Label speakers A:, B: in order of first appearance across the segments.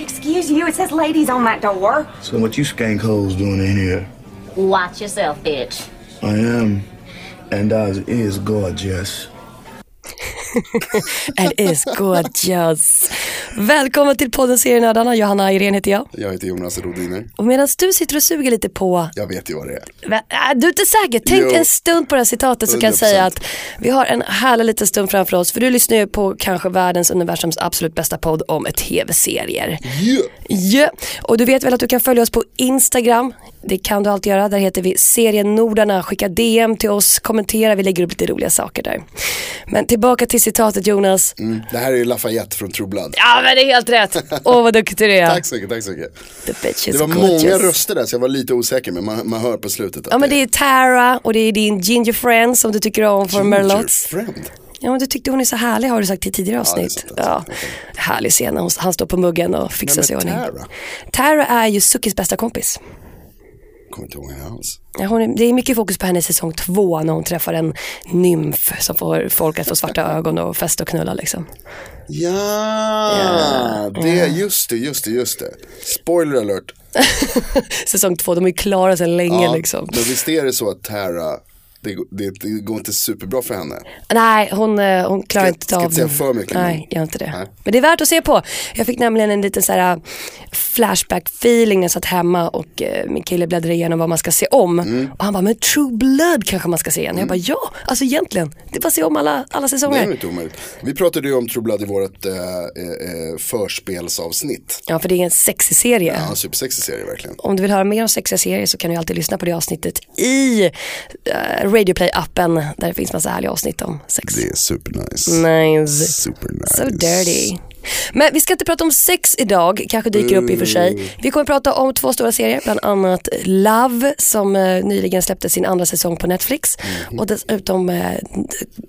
A: Excuse you, it says ladies on that door.
B: So what you skank hoes doing in here?
C: Watch yourself, bitch.
B: I am, and as is gorgeous.
D: It is gorgeous. Välkommen till podden Serienördarna. Johanna Irene heter jag.
E: Jag heter Jonas Rodiner.
D: Och medan du sitter och suger lite på...
E: Jag vet ju vad det är.
D: Va- Äh, Du är inte säker. Tänk
E: Jo.
D: en stund på det här citatet så kan jag
E: 100%.
D: säga att vi har en härlig liten stund framför oss. För du lyssnar ju på kanske världens universums absolut bästa podd om tv-serier.
E: Yeah.
D: Ja, och du vet väl att du kan följa oss på Instagram. Det kan du alltid göra. Där heter vi Serienordarna. Skicka DM till oss, kommentera, vi lägger upp lite roliga saker där. Men tillbaka till citatet Jonas.
E: Mm. Det här är ju Lafayette från True Blood.
D: Ja men det är helt rätt. Åh vad duktig du är.
E: Tack så mycket, tack så mycket.
D: The bitch is
E: Det var
D: gorgeous.
E: många röster där så jag var lite osäker men man, man hör på slutet att
D: Ja men det är Tara och det är din ginger friend som du tycker om från Merlots.
E: Friend.
D: Ja men du tyckte hon är så härlig har du sagt i tidigare
E: det är
D: avsnitt.
E: sant,
D: Ja,
E: det är sant.
D: Härlig scen när hon- han står på muggen och fixar
E: Vem är
D: sig i ordning.
E: Tara?
D: Tara är ju Suckis bästa kompis.
E: Kommer inte ihåg henne alls.
D: Ja, Hon är, det är mycket fokus på henne i säsong två när hon träffar en nymf som får folk att få svarta ögon och festa och knulla liksom.
E: Ja, det, just det, just det, just det. Spoiler alert.
D: Säsong två, de är ju klara sedan länge
E: Ja,
D: liksom.
E: Men visst är det så att Tara, det, går- det, det går inte superbra för henne.
D: Nej, hon, eh, hon klarar
E: Ska-
D: inte
E: ska
D: av
E: inte säga för mycket, men-
D: Nej, gör inte det.
E: Nej.
D: Men det är värt att se på. Jag fick nämligen en liten så här äh, flashback-feeling när jag satt hemma och eh, min kille bläddrade igenom vad man ska se om.
E: Mm.
D: Och han bara, men True Blood kanske man ska se igen. Jag bara, ja, alltså egentligen. Det är bara att se om alla, alla
E: Det är
D: säsonger.
E: ju inte omöjligt. Vi pratade ju om True Blood i vårt eh, eh, eh, förspelsavsnitt.
D: Ja, för det är en sexig serie.
E: Ja, supersexig serie verkligen.
D: Om du vill höra mer om sexiga serier så kan du ju alltid lyssna på det avsnittet i eh, Radioplay-appen där det finns massa härliga avsnitt om sex.
E: Det är supernice.
D: Nice.
E: Supernice.
D: So dirty. Men vi ska inte prata om sex idag, kanske dyker upp i och för sig. Vi kommer prata om två stora serier, bland annat Love som eh, nyligen släppte sin andra säsong på Netflix och dessutom eh,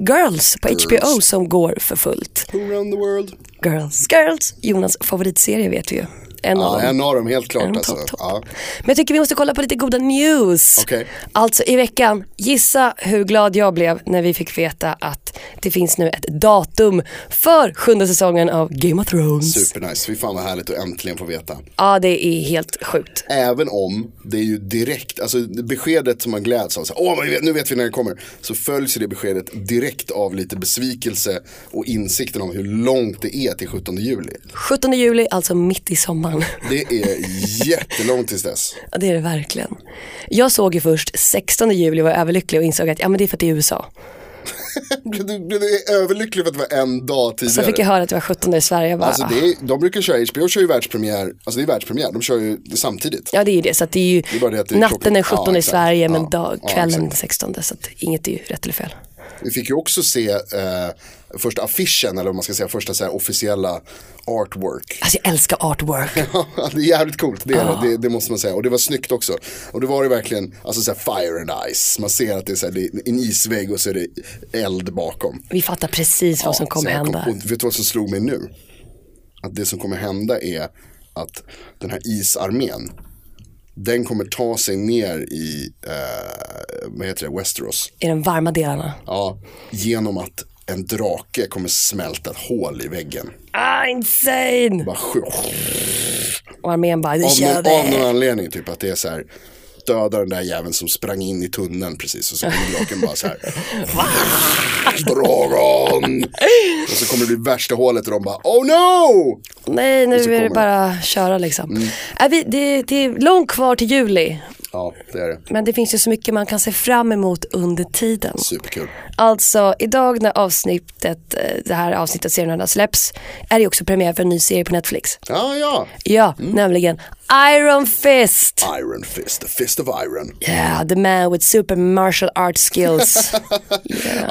D: Girls på HBO som går för fullt.
E: Who run the world?
D: Girls, Girls, Jonas favoritserie vet vi ju. En av
E: Ja,
D: dem.
E: en av dem helt klart
D: En
E: alltså.
D: Mm, topp, topp.
E: Ja.
D: Men jag tycker vi måste kolla på lite goda news.
E: Okej.
D: Alltså i veckan, gissa hur glad jag blev när vi fick veta att det finns nu ett datum för sjunde säsongen av Game of Thrones.
E: Supernice, fy fan vad härligt att äntligen få veta.
D: Ja, det är helt sjukt.
E: Även om det är ju direkt, alltså det beskedet som man gläds av, så, här, åh vi vet- nu vet vi när det kommer. Så följs ju det beskedet direkt av lite besvikelse och insikten om hur långt det är till 17 juli.
D: 17 juli, alltså mitt i sommaren.
E: Det är jättelångt tills dess.
D: Ja, det är det verkligen. Jag såg ju först 16 juli var jag överlycklig och insåg att ja, men det är för att det är USA.
E: Blev du, blev du överlycklig för att det var en dag tidigare?
D: Så fick jag höra att det var 17 i Sverige. Jag bara,
E: Alltså det är, de brukar köra, HBO kör ju världspremiär, alltså det är världspremiär, de kör ju det samtidigt.
D: Ja det är ju det, så att det är ju
E: är bara det att det är
D: natten den
E: klockan-
D: 17
E: Ja,
D: i
E: exakt.
D: Sverige men
E: Ja,
D: dag,
E: ja,
D: kvällen
E: exakt.
D: 16 så att inget är ju rätt eller fel.
E: Vi fick ju också se eh, första affischen, eller vad man ska säga, första så här, officiella artwork.
D: Alltså jag älskar artwork.
E: det är jävligt coolt, det, är det. det, det måste man säga. Och det var snyggt också. Och det var det verkligen, alltså så här, fire and ice. Man ser att det är, så här, det är en isvägg och så är det eld bakom.
D: Vi fattar precis vad som
E: så
D: kommer
E: jag
D: hända.
E: och vet du vad som slog mig nu? Att det som kommer hända är att den här isarmén, den kommer ta sig ner i, eh, vad heter det, Westeros.
D: I de varma delarna.
E: Ja, genom att en drake kommer smälta ett hål i väggen.
D: Ah insane!
E: Bara sjukt.
D: Och armén bara, nu
E: Av,
D: kör
E: någon, av någon
D: vi!
E: anledning, typ att det är så här döda den där jäveln som sprang in i tunneln precis och så kommer draken bara så här. Dragon! Och så kommer det bli värsta hålet och de bara oh no!
D: Nej nu
E: Och så
D: är det
E: kommer- Mm.
D: bara att köra liksom. Äh, vi, det, det är långt kvar till juli.
E: Ja, det är det.
D: Men det finns ju så mycket man kan se fram emot under tiden.
E: Superkul.
D: Alltså idag när avsnittet, eh, det här avsnittet serien släpps är det också premiär för en ny serie på Netflix.
E: Ja, ja.
D: Ja,
E: Mm.
D: nämligen Iron Fist.
E: Iron Fist, the fist of iron.
D: Yeah, the man with super martial arts skills.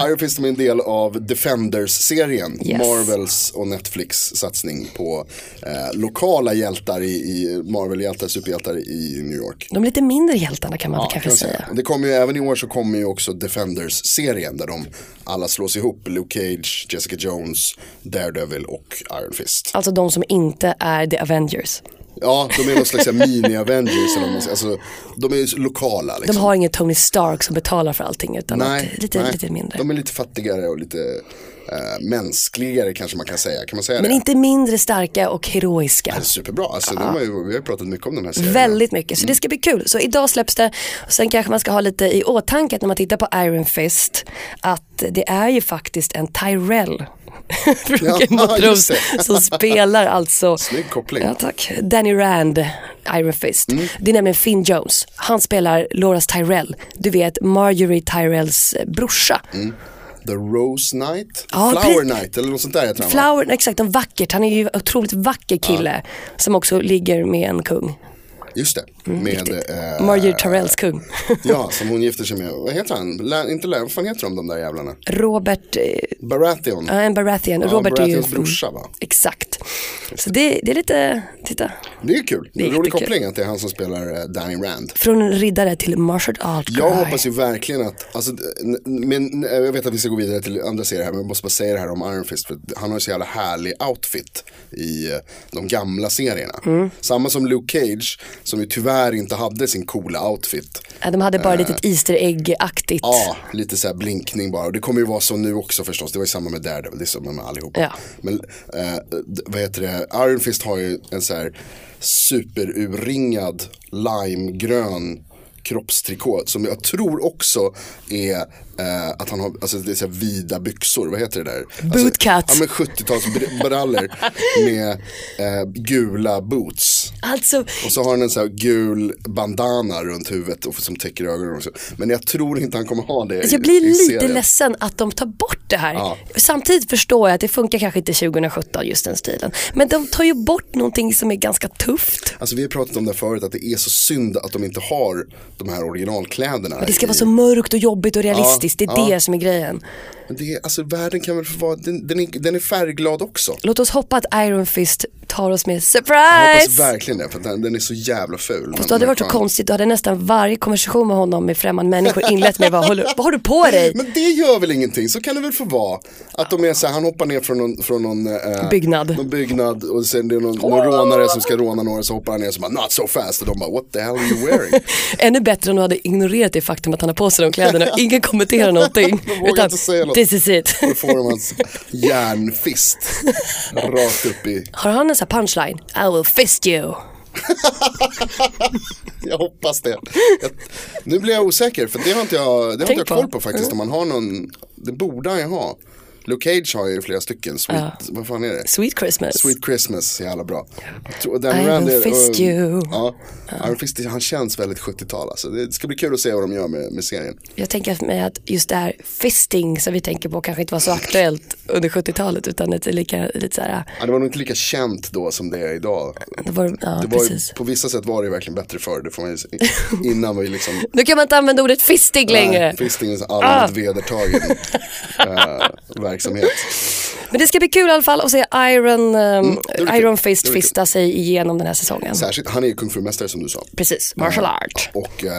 E: Iron Fist är en del av Defenders-serien.
D: Yes.
E: Marvels och Netflix satsning på eh, lokala hjältar i, i Marvel-hjältar, superhjältar i New York.
D: De lite mindre hjältarna kan man väl
E: kan
D: kanske
E: man
D: säga.
E: Det kommer ju även i år så kommer ju också Defenders-serien där de alla slås ihop. Luke Cage, Jessica Jones, Daredevil och Iron Fist.
D: Alltså de som inte är The Avengers.
E: Ja, de är någon slags mini-Avengers. eller vad man ska- Alltså, de är ju lokala
D: De
E: liksom.
D: har ingen Tony Stark som betalar för allting utan att det är lite,
E: nej.
D: lite mindre.
E: De är lite fattigare och lite eh, mänskligare kanske man kan säga. Kan man säga
D: Men
E: det?
D: inte mindre starka och heroiska.
E: Det är Superbra, alltså, mm. de har ju, vi har ju pratat mycket om den här serien.
D: Väldigt mycket, så det ska bli kul. Så idag släpps det och sen kanske man ska ha lite i åtanke att när man tittar på Iron Fist att det är ju faktiskt en Tyrell från
E: Ja,
D: Game of
E: just
D: Thrones
E: det.
D: som spelar alltså
E: Snygg koppling. Mm.
D: Ja tack, Danny Rand, Iron Fist. Det är nämligen Finn Jones, han spelar Loras Tyrell, du vet Marjorie Tyrells brorsa.
E: The Rose Knight,
D: Ja,
E: Flower
D: precis.
E: Knight eller något sånt där heter han va?
D: Flower, exakt, en vackert, han är ju en otroligt vacker kille som också ligger med en kung.
E: Just det, med eh,
D: Mm, Marjorie Tyrells kung.
E: Ja, som hon gifter sig med. Vad heter han? Lä, inte Lä, vad fan heter de de där jävlarna?
D: Robert eh,
E: Baratheon.
D: Ja, en Baratheon.
E: Ja,
D: Robert är ju...
E: Baratheons brorsa, va?
D: Exakt. Så det, det är lite, titta,
E: Det är ju kul. Det är en rolig
D: jättekul.
E: koppling att det är han som spelar eh, Danny Rand.
D: från en riddare till martial art guy.
E: Jag hoppas ju verkligen att, alltså, n- n- men, eh, jag vet att vi ska gå vidare till andra serier här men jag måste bara säga det här om Iron Fist för att han har en så jävla härlig outfit i eh, de gamla serierna. Samma som Luke Cage som ju tyvärr inte hade sin coola outfit.
D: Ja, De hade bara ett litet Easter egg-aktigt.
E: Eh. Ja, lite så här blinkning bara. Och det kommer ju vara så nu också förstås. Det var ju samma med Daredevil, det är samma med allihopa.
D: Ja.
E: Men eh, d- vad heter det, Iron Fist har ju en så här superurringad limegrön kroppstrikå som jag tror också är eh, att han har, alltså det är så här vida byxor, vad heter det där? Alltså,
D: Bootcut.
E: Ja men 70-tals br- brallor med eh, gula boots.
D: Alltså,
E: Och så har han en så här gul bandana runt huvudet och som täcker ögonen också. Men jag tror inte han kommer ha det i-
D: Alltså, jag blir
E: i
D: lite
E: serien.
D: ledsen att de tar bort det här.
E: Ja.
D: Samtidigt förstår jag att det funkar kanske inte 2017, just den stilen. Men de tar ju bort någonting som är ganska tufft.
E: Alltså vi har pratat om det förut att det är så synd att de inte har de här originalkläderna.
D: Det ska
E: i-
D: vara så mörkt och jobbigt och realistiskt.
E: Ja,
D: det är
E: ja.
D: det som är grejen.
E: Men det är, alltså världen kan väl få vara, den, den, är, den är färgglad också.
D: Låt oss hoppa att Iron Fist tar oss med
E: Jag
D: surprise!
E: hoppas verkligen det för att den, den är så jävla ful.
D: Fast då hade det varit så konstigt, då hade nästan varje konversation med honom med främmande människor inlett med vad, håller, vad har du på dig?
E: Men det gör väl ingenting, så kan det väl få vara. Att de är så här, han hoppar ner från någon, från någon, eh,
D: Byggnad.
E: någon byggnad och sen det är någon, någon rånare som ska råna några så hoppar han ner och så bara not so fast och de bara what the hell are you wearing?
D: Ännu bättre om du hade ignorerat det faktum att han har på sig de kläderna och ingen kommenterar någonting.
E: De vågar inte säga något.
D: this is it.
E: Då får de hans järnfist rakt upp i,
D: Har han en sån här punchline? I will fist you.
E: jag hoppas det. Jag, nu blir jag osäker för det har inte jag, det har inte
D: Tänk
E: jag
D: på.
E: koll på faktiskt om man har någon, det borde han ju ha. Luke Cage har ju flera stycken, sweet, vad fan är det?
D: Sweet Christmas.
E: Sweet Christmas, jävla bra. Jag tror-
D: I
E: Dan
D: will
E: Rand är-
D: fist
E: och-
D: you.
E: um, Ja, Iron Fist, han känns väldigt 70-tal alltså. Det ska bli kul att se vad de gör med, med serien.
D: Jag tänker mig att just det här fisting som vi tänker på kanske inte var så aktuellt under 70-talet utan lite lika, lite så här,
E: Ja, det var nog inte lika känt då som det är idag.
D: det var, ja
E: Det var ju,
D: precis.
E: på vissa sätt var det ju verkligen bättre förr, det får man ju, se. innan var ju liksom
D: Nu kan man inte använda ordet fisting längre.
E: Nej, Fistingen är
D: Ah.
E: allmänt vedertagen eh, verksamhet.
D: Men det ska bli kul i alla fall att se Iron, ehm,
E: Mm, det blir
D: Iron
E: kul.
D: Fist
E: Det blir kul.
D: fista sig igenom den här säsongen.
E: Särskilt, han är ju kung fu-mästare som du sa.
D: Precis, martial art.
E: Och eh,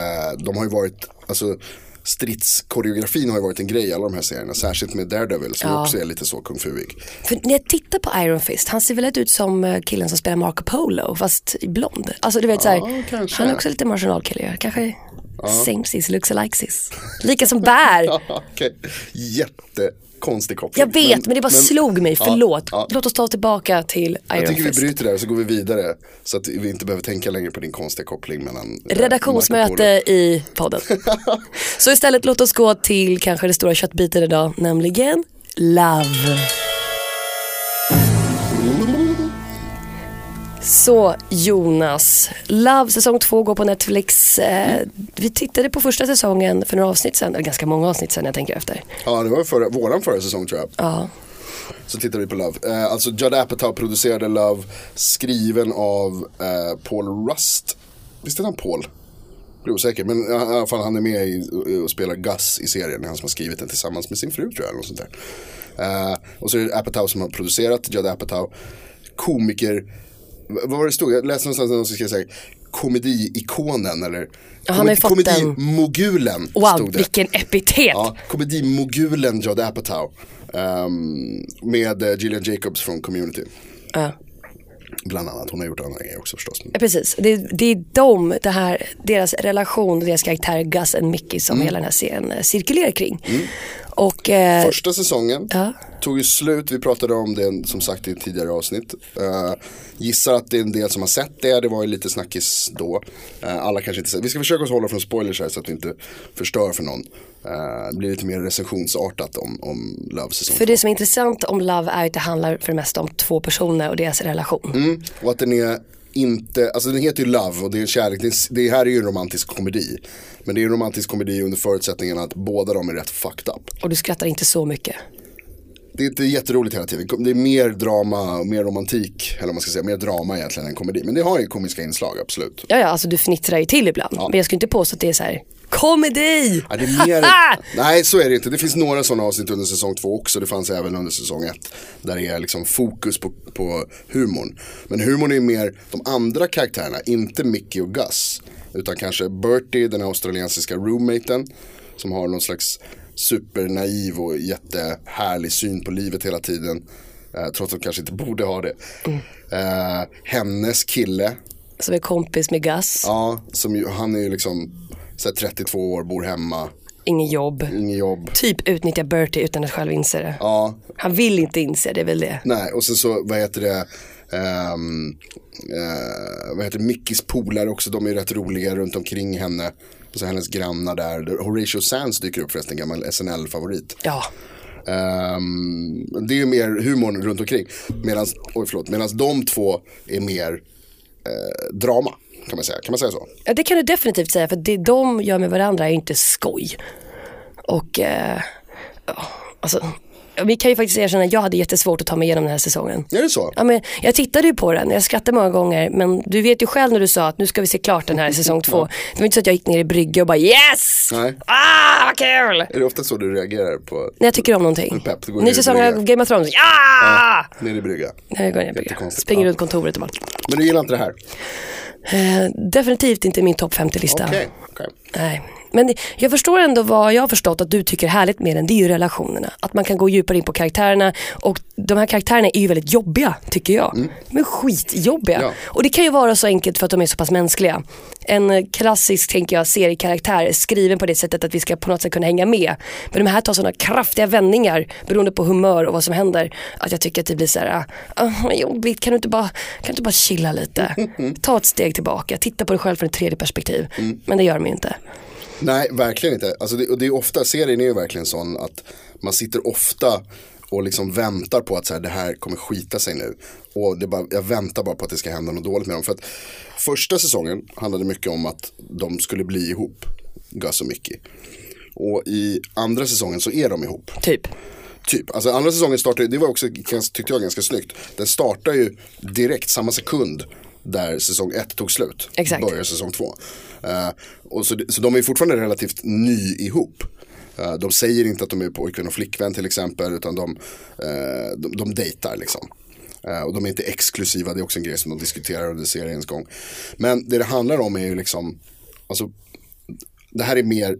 E: de har ju varit, alltså stridskoreografin har ju varit en grej i alla de här serierna. Särskilt med Daredevil som
D: Ja.
E: också är lite så kung fu-ig.
D: För när jag tittar på Iron Fist, han ser väl lite ut som eh, killen som spelar Marco Polo, fast i blond. Alltså du vet såhär,
E: kanske.
D: han är också lite marginalkille ju. Kanske same sis, looks alike sis. Lika som bär.
E: Okej, jättekonstig koppling.
D: Jag vet, men, det bara slog mig,
E: Ja,
D: förlåt.
E: ja.
D: Låt oss ta oss tillbaka till
E: Jag
D: Iron
E: tycker vi
D: Fist.
E: bryter där och så går vi vidare. Så att vi inte behöver tänka längre på din konstiga koppling mellan eh, Marco Polo.
D: Redaktionsmöte i podden. Så istället låt oss gå till kanske det stora köttbiten idag, nämligen Love. Så Jonas, Love säsong två går på Netflix. Eh, vi tittade på första säsongen för några avsnitt sedan, eller ganska många avsnitt sedan jag tänker efter.
E: Ja, det var förra, våran förra säsong tror jag.
D: Ja.
E: Så tittar vi på Love. Eh, alltså Judd Apatow producerade Love, skriven av eh, Paul Rust. Visst heter han Paul? Jag blir osäker, men i alla fall han är med i, och spelar Gus i serien. Det är Han som har skrivit den tillsammans med sin fru tror jag. Eller något sånt där. Eh, och så är det Apatow som har producerat, Judd Apatow. Komiker, v- vad var det stod? Jag läste någonstans att någon skulle säga komediikonen eller
D: Ja, han har ju fått den.
E: komedimogulen.
D: Wow,
E: stod det.
D: vilken epitet!
E: Ja, komedimogulen Judd Apatow. ehm, med eh, Gillian Jacobs från Community.
D: Ja. Eh,
E: Bland annat, hon har gjort andra grejer också förstås.
D: Ja, Precis, det, är- det är de, det här,
E: Mm.
D: deras relation och deras karaktär Gus och Mickey som hela den här serien eh, cirkulerar kring. Och eh,
E: Första säsongen
D: Ja.
E: tog ju slut, vi pratade om det som sagt i ett tidigare avsnitt. Eh, gissar att det är en del som har sett det, det var ju lite snackis då. Eh, alla kanske inte sett Vi ska försöka oss hålla från spoilers här så att vi inte förstör för någon. Eh, det blir lite mer recensionsartat om, om Love säsong
D: för det som är intressant om Love är att det handlar för det mesta om två personer och deras relation.
E: Och att den är inte, alltså den heter ju Love och det är en kärlek, det, är, det här är ju en romantisk komedi. Men det är en romantisk komedi under förutsättningen att båda de är rätt fucked up.
D: Och du skrattar inte så mycket.
E: Det är inte jätteroligt hela tiden, det är mer drama, mer romantik, eller vad man ska säga, mer drama egentligen än komedi. Men det har ju komiska inslag, absolut.
D: Ja, ja, alltså du fnittrar ju till ibland. Men jag skulle inte påstå att det är så här, komedi!
E: Ja, det är mer... Nej, så är det inte. Det finns några sådana avsnitt under säsong två också. Det fanns även under säsong ett. Där det är liksom fokus på, på humorn. Men humorn är ju mer de andra karaktärerna, inte Mickey och Gus. Utan kanske Bertie, den australiensiska roommaten. Som har någon slags supernaiv och jättehärlig syn på livet hela tiden. Eh, trots att de kanske inte borde ha det. Eh, hennes kille,
D: Som är kompis med Gus,
E: ja, som ju, han är ju liksom så här 32 år, bor hemma,
D: ingen jobb.
E: ingen jobb.
D: Typ utnyttjar Bertie utan att själv inse det.
E: Mm. Ja,
D: Han vill inte inse det, är väl det.
E: nej och sen så vad heter det ehm, eh, vad heter det, Mickis polare också, de är rätt roliga runt omkring henne. Och så hennes grannar där, Horatio Sands dyker upp förresten, gammal SNL-favorit.
D: Ja,
E: Ehm, det är ju mer humorn runt omkring. Medans, oj förlåt, medans de två är mer eh, drama, kan man säga. Kan man säga så?
D: Ja, det kan du definitivt säga för det de gör med varandra är inte skoj. Och eh, ja, alltså, vi kan ju faktiskt erkänna att jag hade jättesvårt att ta mig igenom den här säsongen.
E: Är det så?
D: Ja, men jag tittade ju på den, jag skrattade många gånger men du vet ju själv när du sa att nu ska vi se klart den här säsong två. Det var inte så att jag gick ner i brygge och bara yes!
E: Nej.
D: Ah, vad kul!
E: Är det ofta så du reagerar på
D: När jag tycker om någonting.
E: Pepp, det går ner
D: Ny
E: i
D: säsong av
E: brygga.
D: Game of Thrones, ja!
E: Nere i brygga?
D: När jag går ner i brygga.
E: Jättekonstigt.
D: Springer
E: Ja.
D: runt kontoret och bara.
E: Men du gillar inte det här?
D: Eh, definitivt inte min topp 50-lista.
E: Okej. okej.
D: Nej, men jag förstår ändå vad jag har förstått att du tycker är härligt med den, det är ju relationerna. Att man kan gå djupare in på karaktärerna och de här karaktärerna är ju väldigt jobbiga tycker jag. Men skitjobbiga.
E: Ja.
D: Och det kan ju vara så enkelt för att de är så pass mänskliga. En eh, klassisk, tänker jag, seriekaraktär är skriven på det sättet att vi ska på något sätt kunna hänga med. Men de här tar sådana kraftiga vändningar beroende på humör och vad som händer. Att jag tycker att det blir så här, "Ah, vad jobbigt, kan du inte bara, kan du inte bara chilla lite? Ta ett steg tillbaka, titta på dig själv från ett tredje perspektiv. Men det gör de ju inte.
E: Nej, verkligen inte. Alltså det, och det är ofta, serien är ju verkligen sån att man sitter ofta och liksom väntar på att så här, det här kommer skita sig nu. Och det är bara, jag väntar bara på att det ska hända något dåligt med dem. För att första säsongen handlade mycket om att de skulle bli ihop, Gus och Mickey. Och i andra säsongen så är de ihop.
D: Typ.
E: Typ, alltså andra säsongen startade, det var också, ganska- tyckte jag, ganska snyggt. Den startar ju direkt samma sekund där säsong ett tog slut.
D: Exakt.
E: Börjar säsong två. Eh, och så, så de är ju fortfarande relativt ny ihop. Eh, de säger inte att de är pojkvän och flickvän till exempel, utan de, eh, de, de dejtar liksom. Eh, och de är inte exklusiva, det är också en grej som de diskuterar under seriens gång. Men det det handlar om är ju liksom, alltså, det här är mer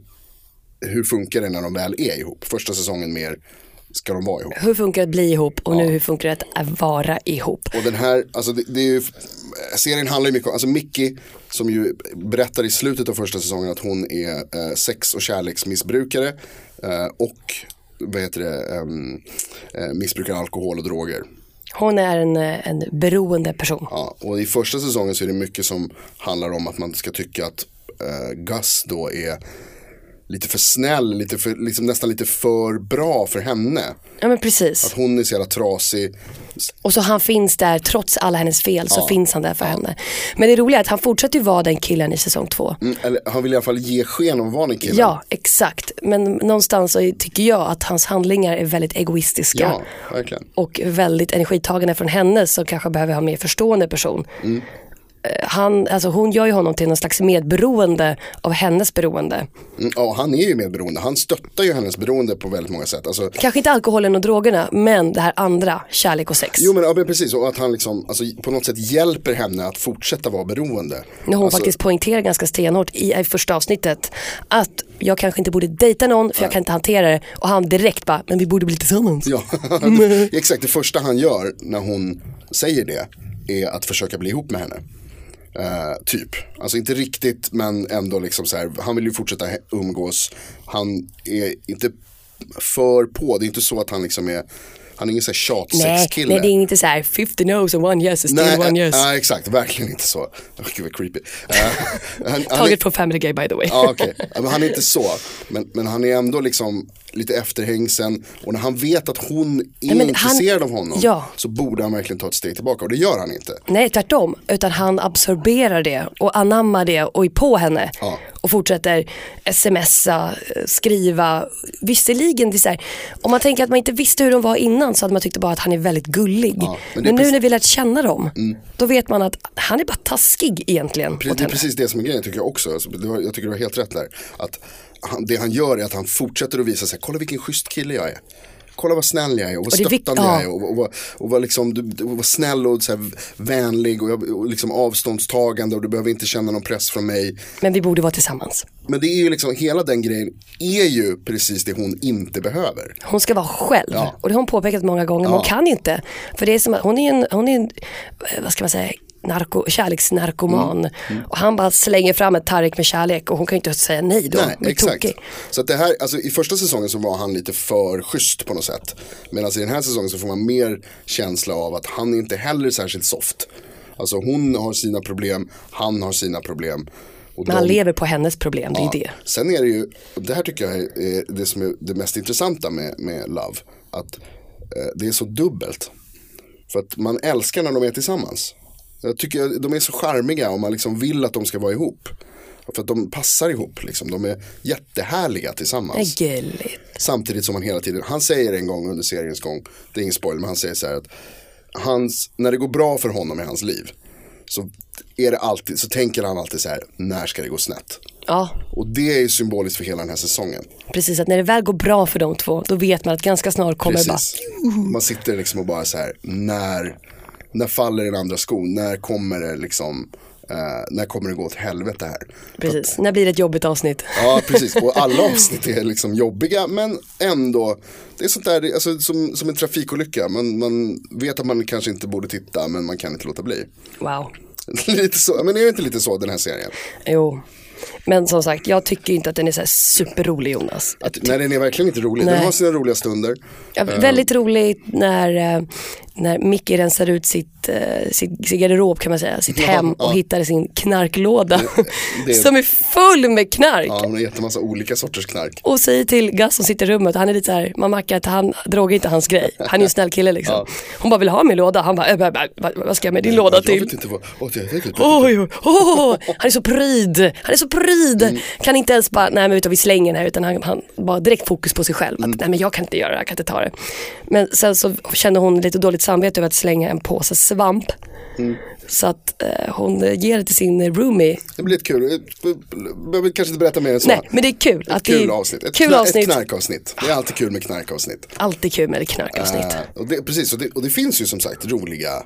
E: hur funkar det när de väl är ihop? Första säsongen mer ska de vara ihop.
D: Hur funkar det att bli ihop och nu hur funkar det att vara ihop?
E: Och den här, alltså det, det är ju, serien handlar ju mycket om, alltså Mickey som ju berättar i slutet av första säsongen att hon är eh, sex och kärleksmissbrukare eh, och vad heter det, ehm, eh, missbrukar alkohol och droger.
D: Hon är en, eh, en beroende person.
E: Ja, och i första säsongen så är det mycket som handlar om att man ska tycka att eh, Gus då är lite för snäll, lite för, liksom nästan lite för bra för henne.
D: Ja men precis.
E: Att hon är så jävla trasig.
D: Och så han finns där trots alla hennes fel så finns han där för henne. Men det roliga är att han fortsätter ju vara den killen i säsong två.
E: Mm, Eller, han vill i alla fall ge sken av att vara den killen.
D: Ja exakt. Men någonstans så tycker jag att hans handlingar är väldigt egoistiska.
E: ja, verkligen.
D: och väldigt energitagande från henne som kanske behöver ha en mer förstående person. Eh, Han, alltså hon gör ju honom till någon slags medberoende av hennes beroende.
E: Mm, Ja, han är ju medberoende. Han stöttar ju hennes beroende på väldigt många sätt. Alltså,
D: Kanske inte alkoholen och drogerna, men det här andra, kärlek och sex.
E: jo men, ja, men precis, och att han liksom, alltså, på något sätt hjälper henne att fortsätta vara beroende.
D: När hon
E: alltså,
D: faktiskt poängterar ganska stenhårt i, i första avsnittet att jag kanske inte borde dejta någon för jag kan inte hantera det. Och han direkt bara, men vi borde bli tillsammans.
E: Ja, exakt. Det första han gör när hon säger det är att försöka bli ihop med henne. Eh, typ, alltså inte riktigt men ändå liksom så här, han vill ju fortsätta he- umgås. Han är inte för på. Det är inte så att han liksom är, han är ingen sån här
D: Nej,
E: tjatsexkille.
D: nej, det är inte så här 50 no's and one yes is still one yes.
E: nej, eh, exakt, verkligen inte så. Oh, gud vad creepy. Eh, han- han är-
D: Taget från Family Guy by the way.
E: Ja, okej. Ja, Men han är inte så. Men, men han är ändå liksom lite efterhängsen. Och när han vet att hon är
D: men han-
E: intresserad av honom
D: Ja.
E: så borde han verkligen ta ett steg tillbaka. Och det gör han inte.
D: Nej, tvärtom. Utan han absorberar det och anammar det och är på henne.
E: Ja.
D: Och fortsätter smsa, eh, skriva. Visserligen, det är så här, om man tänker att man inte visste hur de var innan så hade man tyckt bara att han är väldigt gullig.
E: Ja,
D: men
E: men det är
D: nu
E: precis- Mm.
D: när vi lärt känna dem, då vet man att han är bara taskig egentligen.
E: Pre-
D: mot
E: Det är
D: henne.
E: precis det som är grejen tycker jag också. Alltså, det var, jag tycker du har helt rätt där. Att han, det han gör är att han fortsätter att visa sig, kolla vilken schysst kille jag är. Kolla vad snäll jag är och vad
D: Och det är vikt-
E: stöttande
D: ja.
E: jag är och, och, vad- och vad liksom, du, du var snäll och så här vänlig och, jag, och liksom avståndstagande och du behöver inte känna någon press från mig.
D: Men vi borde vara tillsammans.
E: Men det är ju liksom, hela den grejen är ju precis det hon inte behöver.
D: Hon ska vara själv.
E: Ja.
D: Och det har hon påpekat många gånger, men hon kan inte. För det är som att hon är en, hon är en eh, vad ska man säga, narko, kärleksnarkoman.
E: Mm.
D: Mm. Och han bara slänger fram ett Tareq med kärlek och hon kan ju inte säga nej då.
E: Nej,
D: Hon är
E: exakt.
D: tokig.
E: Så att det här, alltså, i första säsongen så var han lite för schysst på något sätt. Medan i den här säsongen så får man mer känsla av att han är inte heller särskilt soft. Alltså hon har sina problem, han har sina problem. Och
D: Men han
E: de-
D: lever på hennes problem, det är ju det.
E: Sen är det ju, och det här tycker jag är är det som är det mest intressanta med, med Love. Att eh, det är så dubbelt. För att man älskar när de är tillsammans. Jag tycker att de är så charmiga och man liksom vill att de ska vara ihop. För att de passar ihop, liksom. de är jättehärliga
D: Det
E: tillsammans.
D: är gulligt.
E: Samtidigt som han hela tiden, han säger en gång under seriens gång, det är ingen spoiler, men han säger så här att hans, när det går bra för honom i hans liv så, är det alltid, så tänker han alltid så här, när ska det gå snett?
D: Ja,
E: Och det är ju symboliskt för hela den här säsongen.
D: precis. Att när det väl går bra för de två, då vet man att ganska snart kommer det bara,
E: Precis. Man sitter liksom och bara så här, när, när faller den andra skon? När kommer det liksom, eh, när kommer det gå åt helvete här?
D: precis, när blir det ett jobbigt avsnitt?
E: Ja, precis. Och alla avsnitt är liksom jobbiga, men ändå. Det är sånt där, det- alltså, som, som en trafikolycka. Man, man vet att man kanske inte borde titta, men man kan inte låta bli.
D: Wow.
E: lite så, men är det inte lite så den här serien?
D: Jo. Men som sagt, jag tycker inte att den är så här superrolig Jonas. Jag
E: Nej, den är verkligen inte rolig.
D: Nej.
E: Den har sina roliga stunder.
D: Ja,
E: Eh.
D: väldigt roligt när, eh, när Micke rensar ut sitt, eh, sitt, sin garderob kan man säga, sitt
E: Ja,
D: hem och
E: ja.
D: hittar sin knarklåda
E: det-
D: som är full med knark.
E: Ja, hon har jättemassa olika sorters knark.
D: Och säger till Gus som sitter i rummet, han är lite såhär, man märker att han, droger inte hans grej. Han är ju en snäll kille liksom. Hon bara, vill du ha min låda? Han bara, "Äh, vad- vad- vad ska jag med din låda
E: Alltså, Jag
D: till?
E: vet inte vad, åh, jag vet inte.
D: Oj, oj, oj, han är så pryd. Han är så pryd.
E: Mm.
D: Kan inte ens bara, nej men vet du, vi slänger den här. Utan han, han bara direkt fokus på sig själv. Att,
E: Mm.
D: nej men jag kan inte göra det, jag kan inte ta det. Men sen så kände hon lite dåligt samvete över att slänga en påse svamp.
E: Mm.
D: Så att eh, hon ger det till sin roomie.
E: Det blir lite kul. Jag behöver kanske inte berätta mer än så.
D: Nej, men det är kul.
E: Ett
D: att det är
E: kul avsnitt. Ett,
D: Kul
E: kna-
D: avsnitt.
E: ett knarkavsnitt. Det är alltid kul med knarkavsnitt.
D: Alltid kul med ett knarkavsnitt.
E: Eh, och det, precis, och det, och det finns ju som sagt roliga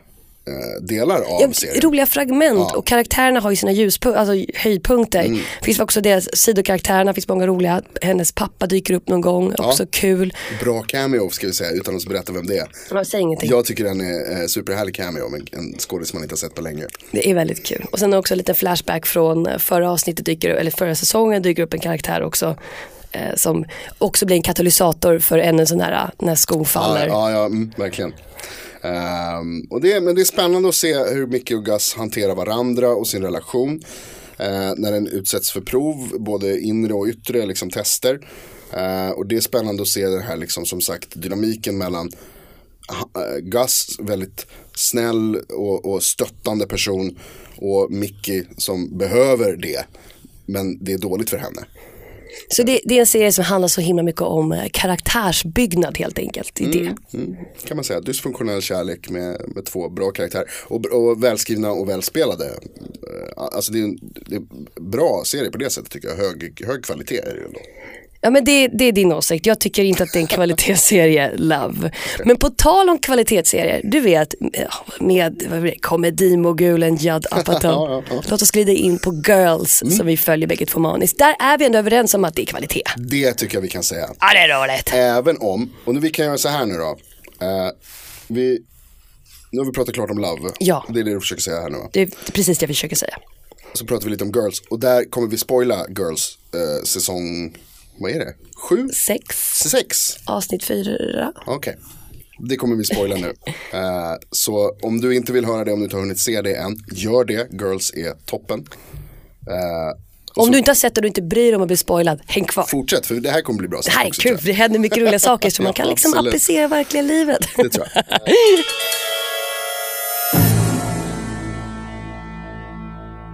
E: eh, delar av
D: Ja,
E: serien.
D: roliga fragment och karaktärerna har ju sina ljuspunkter, alltså höjdpunkter.
E: Mm.
D: Finns också deras sidokaraktärerna, finns många roliga. Hennes pappa dyker upp någon gång, också kul.
E: Bra cameo ska vi säga utan att berätta vem det är.
D: Man säger ingenting.
E: Jag tycker den är eh, superhärlig cameo med en skådis man inte har sett på länge.
D: Det är väldigt kul. Och sen också en liten flashback från eh, förra avsnittet, dyker, eller förra säsongen dyker upp en karaktär också. Eh, som också blir en katalysator för ännu en sån här eh, när skon faller.
E: Ja, ja mm, verkligen. Ehm, och det, är- men det är spännande att se hur Micke och Gus hanterar varandra och sin relation. eh, när den utsätts för prov, både inre och yttre liksom, tester. Eh, och det är spännande att se den här liksom, som sagt, dynamiken mellan ha- eh, Gus, väldigt snäll och, och stöttande person och Mickey som behöver det. Men det är dåligt för henne.
D: Så det, det är en serie som handlar så himla mycket om eh, karaktärsbyggnad helt enkelt. Det är det.
E: Mm, kan man säga. Dysfunktionell kärlek med, med två bra karaktärer. Och, och välskrivna och välspelade. Eh, Alltså det är en det är en bra serie på det sättet tycker jag. Hög, hög kvalitet är det ju ändå.
D: Ja, men det, det är din åsikt. Jag tycker inte att det är en kvalitetsserie, Love. Men på tal om kvalitetsserier, du vet eh, med vad blir det, komedimogulen Judd Apatow. Låt oss glida in på Girls som vi följer bägge två maniskt. Där är vi ändå överens om att det är kvalitet.
E: Det tycker jag vi kan säga.
D: Ja, det är roligt.
E: Även om, och nu vi kan göra så här nu då. Eh, vi, nu har vi pratat klart om Love.
D: Ja.
E: Det är det du försöker säga här nu va?
D: Det är precis det jag försöker säga.
E: Så pratar vi lite om Girls. Och där kommer vi spoila Girls eh, säsong Vad är det? Sju?
D: Sex,
E: Sex?
D: avsnitt fyra.
E: Okej. Det kommer vi spoila nu. Eh, så om du inte vill höra det, om du inte har hunnit se det än, gör det. Girls är toppen. Eh,
D: Om du inte har sett det och du inte bryr dig om att bli spoilad, häng kvar.
E: fortsätt, för det här kommer bli bra.
D: Det här är kul, för det händer mycket roliga saker som man kan liksom
E: Absolut.
D: applicera i verkliga livet.
E: Det tror jag.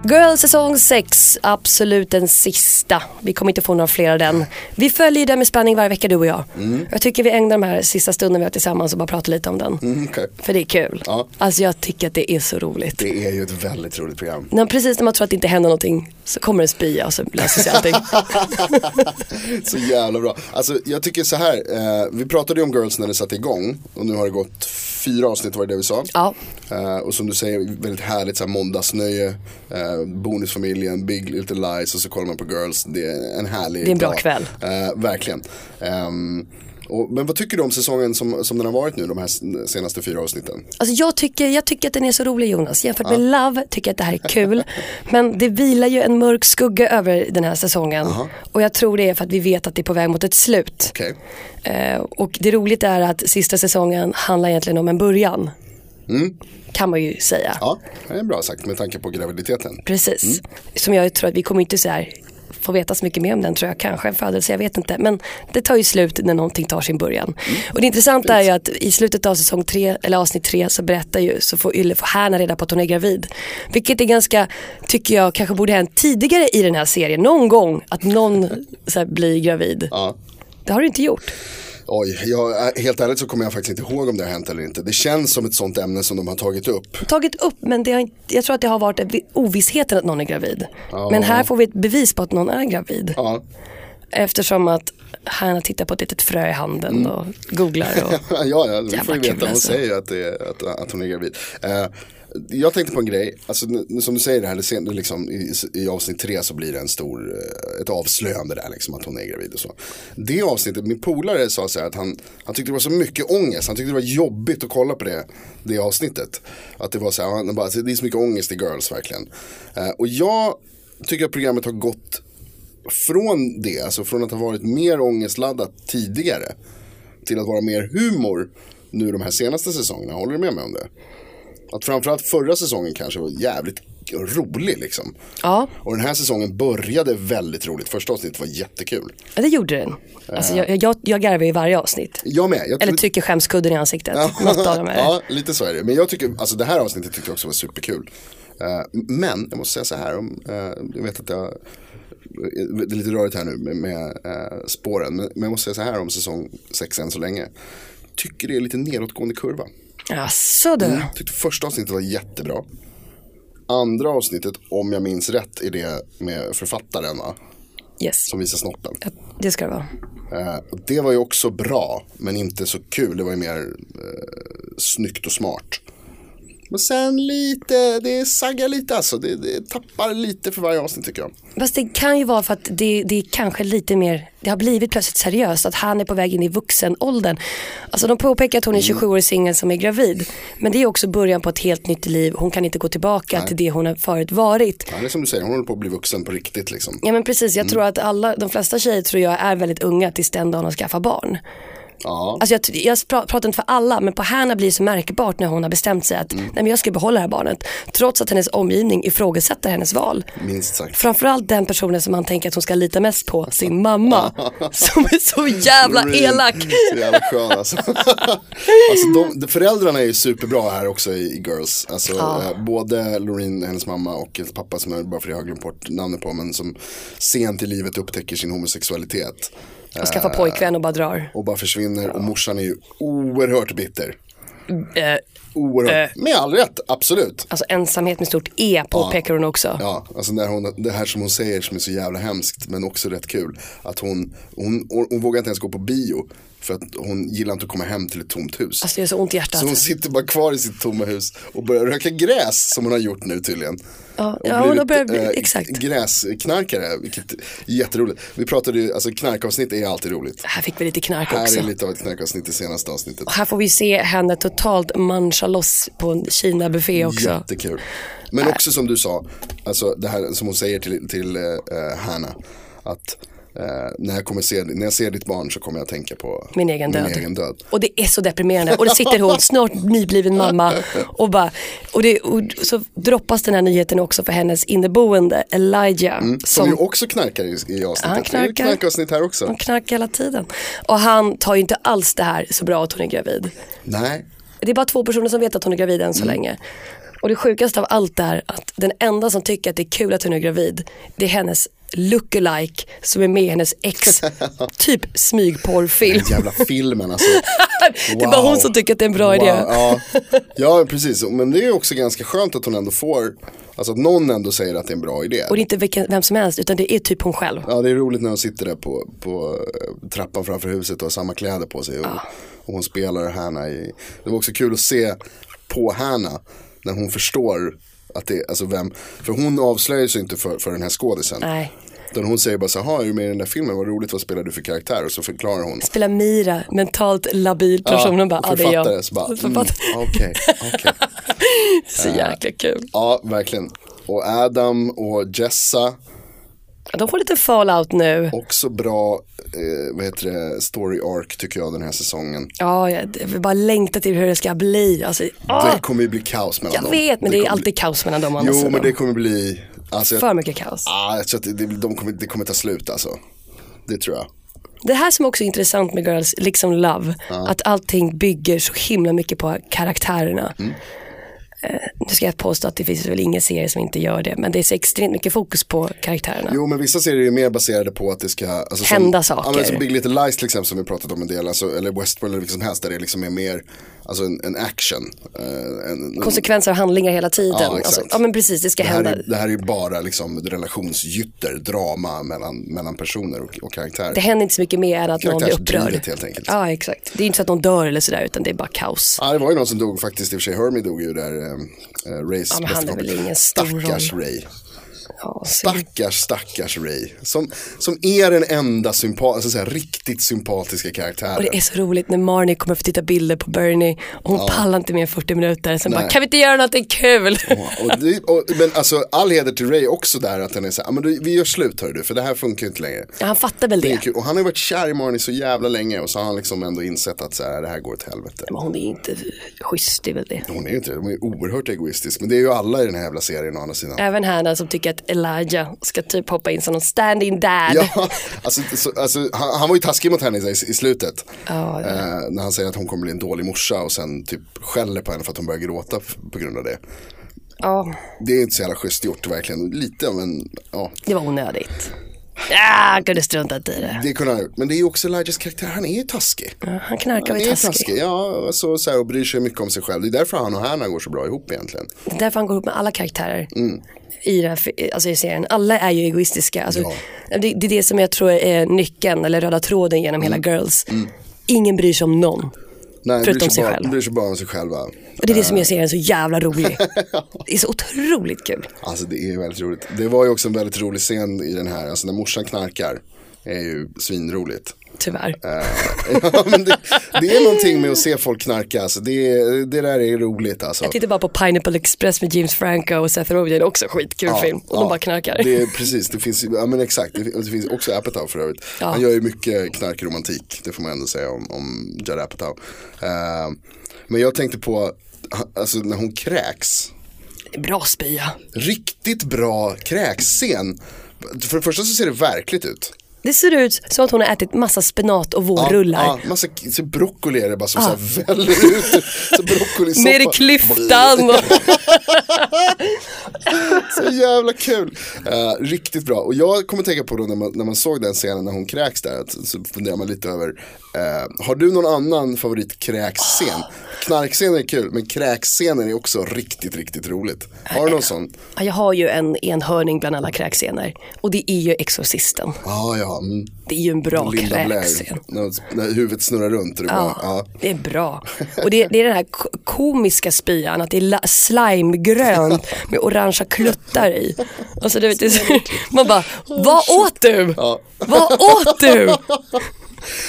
D: Girl säsong 6, absolut den sista. Vi kommer inte få några fler av den. Vi följer den med spänning varje vecka du och jag. Jag tycker vi ägnar de här sista stunderna vi har tillsammans och bara pratar lite om den.
E: Mm, okej.
D: För det är kul.
E: Ja.
D: Alltså jag tycker att det är så roligt.
E: Det är ju ett väldigt roligt program.
D: När, precis när man tror att det inte händer någonting så kommer en spya och så löser sig allting.
E: Så jävla bra. Alltså jag tycker så här, eh, vi pratade ju om Girls när det satte igång och nu har det gått fyra avsnitt var det det vi sa.
D: Ja.
E: Eh, och som du säger, väldigt härligt så här måndagsnöje, eh, bonusfamiljen, Big Little Lies och så kollar man på Girls. Det är en härlig
D: Det är en bra
E: dag.
D: kväll.
E: Eh, verkligen. Ehm, och, men vad tycker du om säsongen som, som den har varit nu, de här s- senaste fyra avsnitten?
D: Alltså jag tycker, jag tycker att den är så rolig Jonas. Jämfört med Love tycker jag att det här är kul. Men det vilar ju en mörk skugga över den här säsongen. Och jag tror det är för att vi vet att det är på väg mot ett slut.
E: Okej.
D: Eh, och det roligt är att sista säsongen handlar egentligen om en början. Kan man ju säga.
E: Mm. Ja, Mm. det är bra sagt med tanke på graviditeten.
D: Precis. Som jag tror att vi kommer inte så här få veta så mycket mer om den tror jag. Kanske en födelse, jag vet inte. Men det tar ju slut när någonting tar sin början.
E: Mm.
D: Och det intressanta är ju att i slutet av säsong tre, eller avsnitt tre så berättar ju, så får Yle, får Härna reda på att hon är gravid. Vilket är ganska, tycker jag, kanske borde ha hänt tidigare i den här serien. Någon gång att någon så här, blir gravid.
E: Ja.
D: Det har du inte gjort.
E: Oj, jag, eh, helt ärligt så kommer jag faktiskt inte ihåg om det har hänt eller inte. Det känns som ett sånt ämne som de har tagit upp.
D: tagit upp men det har, inte- jag tror att det har varit vi- ovissheten att någon är gravid. Men här får vi ett bevis på att någon är gravid.
E: Ja,
D: Eftersom att Hanna tittar på ett litet frö i handen
E: Mm.
D: och googlar. Och,
E: ja, ja vi
D: Jävla
E: får ju
D: kul
E: veta. Hon
D: alltså.
E: säger ju att, det är, att, att hon är gravid. Eh, jag tänkte på en grej, alltså, n- som du säger det här, det sen, det liksom, i, i avsnitt tre så blir det en stor, eh, ett avslöjande där liksom att hon är gravid och så. Det avsnittet, min polare sa så här att han, han tyckte det var så mycket ångest, han tyckte det var jobbigt att kolla på det, det avsnittet. Att det var så här, han bara, alltså, det är så mycket ångest i Girls verkligen. Eh, och jag tycker att programmet har gått från det, alltså från att ha varit mer ångestladdat tidigare till att vara mer humor nu de här senaste säsongerna. Håller du med mig om det? Att framförallt förra säsongen kanske var jävligt rolig liksom.
D: ja,
E: Och den här säsongen började väldigt roligt. Första avsnittet var jättekul.
D: ja, det gjorde den. Alltså, jag, jag, jag garvar ju varje avsnitt.
E: Jag med. Jag
D: Eller
E: trodde-
D: trycker skämskudden i ansiktet. Något av dem är det.
E: Ja, lite så är det. Men jag tycker, alltså det här avsnittet tyckte jag också var superkul. Eh, men jag måste säga så här, om, eh, jag vet att jag, det är lite rörigt här nu med, med eh, spåren. Men, men jag måste säga så här om säsong 6 än så länge. Tycker det är lite nedåtgående kurva.
D: Jaså du.
E: Jag tyckte första avsnittet var jättebra. Andra avsnittet, om jag minns rätt, är det med författaren va?
D: Yes.
E: Som visar snoppen.
D: Ja, Det ska det vara.
E: Eh, och det var ju också bra, men inte så kul. Det var ju mer eh, snyggt och smart. Men sen lite, det saggar lite alltså. Det, det tappar lite för varje avsnitt tycker jag.
D: Fast det kan ju vara för att det, det är kanske lite mer, det har blivit plötsligt seriöst att han är på väg in i vuxenåldern. Alltså de påpekar att hon är 27 år singel som är gravid. Men det är också början på ett helt nytt liv, hon kan inte gå tillbaka till det hon har förut varit.
E: Ja, det är som du säger, hon håller på att bli vuxen på riktigt liksom.
D: Ja men precis, jag tror att alla, de flesta tjejer tror jag är väldigt unga tills den dagen de skaffar barn.
E: Ja,
D: Alltså jag, jag pra- pratar inte för alla men på Hanna blir det så märkbart när hon har bestämt sig att nej men jag ska behålla det här barnet. Trots att hennes omgivning ifrågasätter hennes val.
E: minst sagt.
D: Framförallt den personen som man tänker att hon ska lita mest på, sin mamma. Som är så jävla elak.
E: Så jävla skön alltså. alltså de, de, föräldrarna är ju superbra här också i, i Girls. Alltså, eh, både Loreen, hennes mamma och hennes pappa som jag bara för jag har glömt bort namnet på. Men som sent i livet upptäcker sin homosexualitet.
D: Och skaffa pojkvän och bara drar.
E: och bara försvinner och morsan är ju oerhört bitter.
D: Eh,
E: Oerhört. Med all rätt, absolut.
D: alltså ensamhet med stort E påpekar hon också.
E: Ja, alltså när hon, det här som hon säger som är så jävla hemskt men också rätt kul. Att hon, hon, hon, hon vågar inte ens gå på bio för att hon gillar inte att komma hem till ett tomt hus.
D: Alltså det är så ont i hjärtat.
E: Så hon sitter bara kvar i sitt tomma hus och börjar röka gräs som hon har gjort nu tydligen.
D: Ja,
E: Och
D: ja, hon har
E: blivit,
D: börjat bli-
E: eh,
D: exakt.
E: Gräsknarkare, vilket är jätteroligt. Vi pratade ju, alltså knarkavsnitt är alltid roligt.
D: Här fick vi lite knark
E: Här
D: också.
E: är lite av ett knarkavsnitt i senaste avsnittet.
D: Och Här får vi se henne totalt mancha loss på en Kina-buffé också.
E: Jättekul. Men också som du sa, alltså det här som hon säger till, till eh, eh, Hanna. Att Eh, när, jag kommer se, när jag ser ditt barn så kommer jag tänka på
D: Min egen död.
E: Min egen död.
D: Och det är så deprimerande. Och det sitter hon, snart nybliven mamma, och bara, och, det, och så droppas den här nyheten också för hennes inneboende Elijah.
E: Mm, Som, ju också knarkar i, i avsnittet.
D: Han
E: Det är ju
D: knarkar.
E: knarkavsnitt här också.
D: Hon knarkar hela tiden. Och han tar ju inte alls det här så bra att hon är gravid.
E: Nej,
D: Det är bara två personer som vet att hon är gravid än så
E: Mm.
D: länge. Och det sjukaste av allt är att den enda som tycker att det är kul att hon är gravid, det är hennes lookalike som är med i hennes ex, typ smygporrfilm.
E: jävla filmen alltså.
D: Det är bara hon som tycker att det är en bra idé.
E: Ja. ja, precis. Men det är också ganska skönt att hon ändå får, alltså att någon ändå säger att det är en bra idé.
D: Och det är inte vilken, vem som helst utan det är typ hon själv.
E: Ja, det är roligt när hon sitter där på, på eh, trappan framför huset och har samma kläder på sig. Och,
D: Ah.
E: och hon spelar Hanna i, det var också kul att se på Hanna när hon förstår att det, alltså vem, för hon avslöjar sig inte för, för den här skådisen.
D: Nej.
E: Utan hon säger bara så här, "Jaha, är du med i den där filmen, vad roligt, vad spelar du för karaktär? Och så förklarar hon.
D: Spelar Mira, mentalt labil person. Hon bara,
E: och
D: ja det är
E: författare,
D: jag.
E: så bara, mm,
D: Författare.
E: okej, okej.
D: Så jäkla kul.
E: Ja, verkligen. Och Adam och Jessa,
D: Ja, De får lite fallout nu.
E: också bra, eh, vad heter det, story arc tycker jag den här säsongen.
D: Ja, jag jag vill bara längta till hur det ska bli. Alltså, ah,
E: Det kommer ju bli kaos mellan
D: jag
E: dem.
D: vet men det är
E: kommer
D: alltid
E: bli...
D: kaos mellan dem. å andra
E: Jo, men
D: sidan.
E: det kommer bli, alltså jag,
D: För mycket kaos.
E: ah, jag tror att det, de kommer, det kommer ta slut alltså. Det tror jag.
D: Det här som också är intressant med Girls, liksom Love, att allting bygger så himla mycket på karaktärerna.
E: Mm.
D: Eh, Nu ska jag påstå att det finns väl ingen serie som inte gör det, men det är så extremt mycket fokus på karaktärerna.
E: Jo men vissa serier är mer baserade på att det ska alltså,
D: Hända
E: som,
D: saker.
E: Ja, men som Big Little Lies till exempel som vi pratat om en del, alltså, eller Westworld eller vilket som helst där det liksom är mer alltså, en, en action. eh, en, en,
D: Konsekvenser av handlingar hela tiden.
E: Ja, exakt.
D: alltså, ja men precis, det ska
E: det, här
D: hända.
E: är, det här är ju bara liksom relationsgytter, drama mellan, mellan personer och, och karaktärer.
D: Det händer inte så mycket mer än att någon blir upprörd.
E: Karaktärsdrivet, helt enkelt.
D: Ja exakt. Det är inte så att någon dör eller sådär utan det är bara kaos.
E: Ja, det var ju någon som dog faktiskt, i och för sig Hermie dog ju där, eh, eh, Rays
D: men
E: bästa
D: han är väl
E: kompis.
D: ingen stor
E: Stackars Ray.
D: Ja, så-
E: Stackars, stackars Ray. Som, som är den enda sympa- alltså, så här, riktigt sympatiska
D: och
E: karaktären.
D: det är så roligt när Marnie kommer för att titta bilder på Bernie och hon pallar inte mer än 40 minuter. Sen bara, kan vi inte göra någonting kul?
E: Och det, och, men alltså all heder till Ray också där att han är så här, "Ah, men du, vi gör slut hörru du, för det här funkar ju inte längre.
D: Ja, han fattar väl
E: Det är
D: det.
E: kul. Och han har ju varit kär i Marnie så jävla länge och så har han liksom ändå insett att så här, det här går åt helvete.
D: Men hon är inte schysst, det är väl det.
E: Hon är ju inte det, hon är oerhört egoistisk. Men det är ju alla i den här jävla serien å andra sidan.
D: Även Hanna som tycker att Elijah ska typ hoppa in som någon standing dad.
E: Ja, alltså, så, alltså, han, han var ju taskig mot henne i, i slutet.
D: Ja, ja.
E: Eh, när han säger att hon kommer bli en dålig morsa och sen typ skäller på henne för att hon börjar gråta f- på grund av det.
D: Ja,
E: Det är inte så jävla schysst gjort verkligen. Lite av en, ja,
D: det var onödigt. Ja, han kunde struntat i det.
E: det kunde han ha gjort. Men det är ju också Elijahs karaktär, han är ju taskig.
D: Ja, han knarkar
E: Han
D: och är
E: är
D: taskig.
E: taskig, ja, så, så här, och bryr sig mycket om sig själv. Det är därför han och Hanna går så bra ihop egentligen.
D: Det är därför han går ihop med alla karaktärer
E: Mm.
D: i, den här, fi- alltså i serien. Alla är ju egoistiska. Alltså, det, det är det som jag tror är nyckeln, eller röda tråden genom
E: Mm.
D: hela Girls. Ingen bryr sig om någon.
E: Nej,
D: Förutom
E: bryr sig,
D: sig
E: bara,
D: själv.
E: bryr sig bara om sig själva.
D: Och det är det som gör serien så jävla rolig. Det är så otroligt kul.
E: Alltså det är väldigt roligt. Det var ju också en väldigt rolig scen i den här, alltså när morsan knarkar. är ju svinroligt.
D: Tyvärr.
E: ja, men det, det är någonting med att se folk knarka, alltså. det, det där är roligt alltså.
D: Jag tittar bara på Pineapple Express med James Franco och Seth Rogen, också skitkul film. Och de bara knarkar.
E: Det är, precis, det finns, ju- ja men exakt, det, det finns också Apatow för övrigt.
D: Ja.
E: Han gör ju mycket knarkromantik, det får man ändå säga om, om Judd Apatow. Eh, men jag tänkte på, ha- alltså när hon kräks,
D: Bra spya.
E: riktigt bra kräkscen. För det första så ser det verkligt ut.
D: Det ser ut som att hon har ätit massa spenat och
E: Ja,
D: vårrullar.
E: Ja, massa så broccoli är det bara som så här väller ut. Så broccolisoppa.
D: Ner i klyftan. Och...
E: Så jävla kul. Eh, riktigt bra. Och jag kommer tänka på då när man, när man såg den scenen när hon kräks där. Att, så funderar man lite över. eh, har du någon annan favoritkräksscen? Knarkscenen är kul men kräkscenen är också riktigt, riktigt roligt. Har du någon sån?
D: Ja, Jag har ju en enhörning bland alla kräkscener. Och det är ju Exorcisten.
E: Ah, ja, mm.
D: Det är ju en bra
E: Linda
D: kräkscen.
E: Blair. När, när huvudet snurrar runt. Och det bara, ja.
D: Det är bra. Och det, det är den här ko- komiska spyan, att det är la- slimegrönt med orangea kluttar i. Alltså, du vet, det är så, man bara, vad åt du? Vad åt du?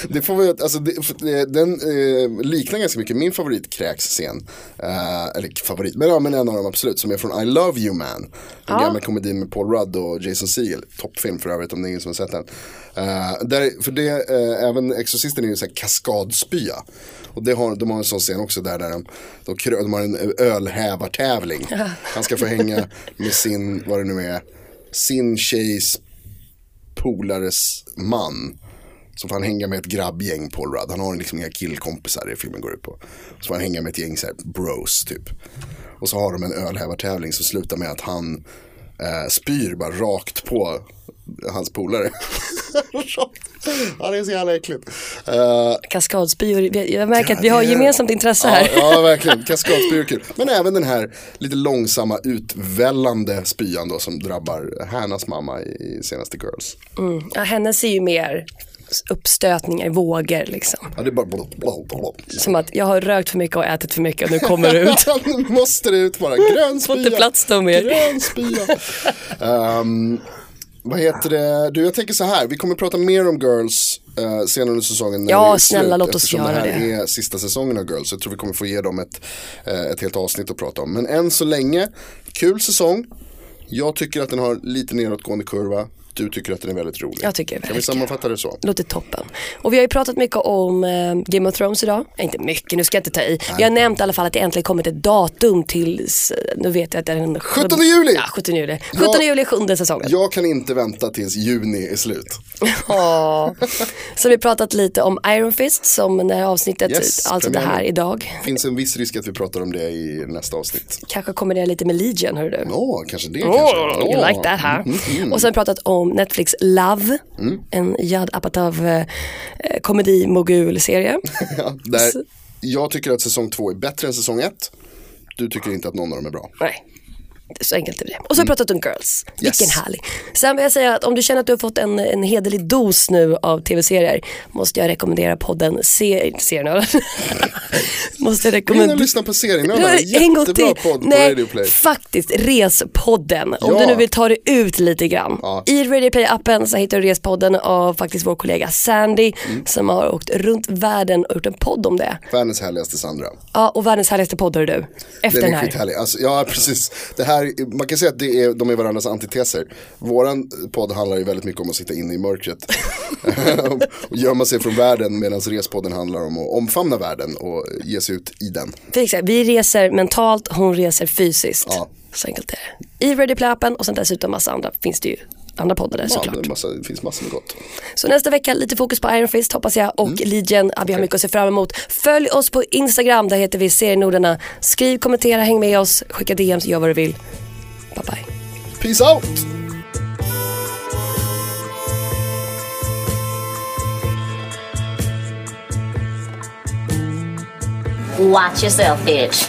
E: Det får vi, alltså, det, för- eh, den eh, liknar ganska mycket min favorit scen eh, Eller favorit, men, ja, men en av dem absolut. Som är från I Love You Man. Den gamla komedin med Paul Rudd och Jason Segel. Toppfilm för övrigt om det är ingen som har sett den. Eh, där, för det, eh, även Exorcisten är ju en sån här kaskadspya. Och det har, de har en sån scen också där, där de, de, krö- de har en ölhävartävling. Han ska få hänga med sin, vad det nu är, sin tjejs polares man. Så får han hänga med ett grabbgäng Paul Rudd. Han har liksom inga killkompisar det filmen går ut på. Så får han hänga med ett gäng så här bros typ. Och så har de en ölhävartävling som slutar med att han eh, spyr bara rakt på hans polare. Rakt. ja det är så jävla äckligt. Eh,
D: Kaskadspyor, Vi- jag märker att vi
E: Ja,
D: har
E: det-
D: gemensamt intresse här.
E: Ja, ja verkligen, kaskadspy är kul. Men även den här lite långsamma utvällande spyan då som drabbar Hannas mamma i i senaste Girls.
D: Mm. Ja, hennes är ju mer uppstötningar, vågor liksom.
E: Ja, det är bara blop, blop, blop.
D: Som att jag har rökt för mycket och ätit för mycket och nu kommer det ut.
E: nu måste det ut bara, grön spya.
D: Får inte plats då mer.
E: Grön spya. Ehm, vad heter det, du jag tänker så här, vi kommer prata mer om Girls eh, senare under säsongen. när
D: Ja,
E: det är
D: snälla,
E: slut,
D: låt oss
E: eftersom
D: göra
E: det. här är sista säsongen av Girls, jag tror vi kommer få ge dem ett, eh, ett helt avsnitt att prata om. Men än så länge, kul säsong. Jag tycker att den har lite nedåtgående kurva. Du tycker att den är väldigt rolig.
D: Jag tycker
E: Kan vi
D: verkligen.
E: sammanfatta det så?
D: Låter toppen. Och vi har ju pratat mycket om eh, Game of Thrones idag. Eh, Inte mycket, nu ska jag inte ta i. Vi har nämnt i alla fall att det äntligen kommit ett datum till, s- nu vet jag att det är den
E: 17 juli!
D: Ja, 17 juli. 17
E: Ja.
D: juli, sjunde säsongen.
E: Jag kan inte vänta tills juni är slut.
D: Ja. Så vi har pratat lite om Iron Fist som när avsnittet,
E: Yes,
D: alltså det
E: premiär
D: här
E: nu.
D: idag.
E: finns en viss risk att vi pratar om det i nästa avsnitt.
D: Kanske kommer det lite med Legion, hör du. Oh,
E: Åh, kanske det. kanske.
D: You
E: Åh.
D: like that
E: Mm,
D: huh? Och sen pratat om Netflix Love, en Judd Apatow eh, komedi-mogul-serie.
E: Ja, där, jag tycker att säsong två är bättre än säsong ett. Du tycker inte att någon av dem är bra.
D: Nej. Det är så enkelt är det. Och så har vi pratat om girls. Vilken
E: Mm. Yes.
D: härlig. Sen vill jag säga att om du känner att du har fått en, en hederlig dos nu av tv-serier måste jag rekommendera podden Se- Serienörden. måste jag
E: Gå in och
D: rekommendera.
E: lyssna på serienördarna.
D: En gång
E: Jättebra
D: till.
E: podd på
D: Nej,
E: Radio Play.
D: faktiskt Respodden. Om
E: Ja.
D: du nu vill ta dig ut lite grann.
E: Ja.
D: I Radio Play-appen så hittar du Respodden av faktiskt vår kollega Sandy
E: Mm.
D: som har åkt runt världen och gjort en podd om det.
E: Världens härligaste Sandra.
D: Ja, och världens härligaste podd hör du. Efter
E: Den
D: den
E: är
D: här.
E: skithärlig. Alltså, ja, precis. Det här, man kan säga att det är, de är varandras antiteser. Våran podd handlar ju väldigt mycket om att sitta inne i mörkret. och gömma sig från världen medan respodden handlar om att omfamna världen och ge sig ut i den.
D: För exakt, vi reser mentalt, hon reser fysiskt.
E: Ja.
D: Så enkelt är det. I Ready Plappen och sen dessutom massa andra finns det ju andra poddar där
E: Ja,
D: såklart.
E: det, är massa, det finns massor med gott.
D: Så nästa vecka lite fokus på Iron Fist hoppas jag och Legion. Ja, vi har mycket att se fram emot. Följ oss på Instagram, där heter vi Serienordarna. Skriv, kommentera, häng med oss, skicka DMs, gör vad du vill. Bye bye.
E: Peace out!
C: Watch yourself, bitch.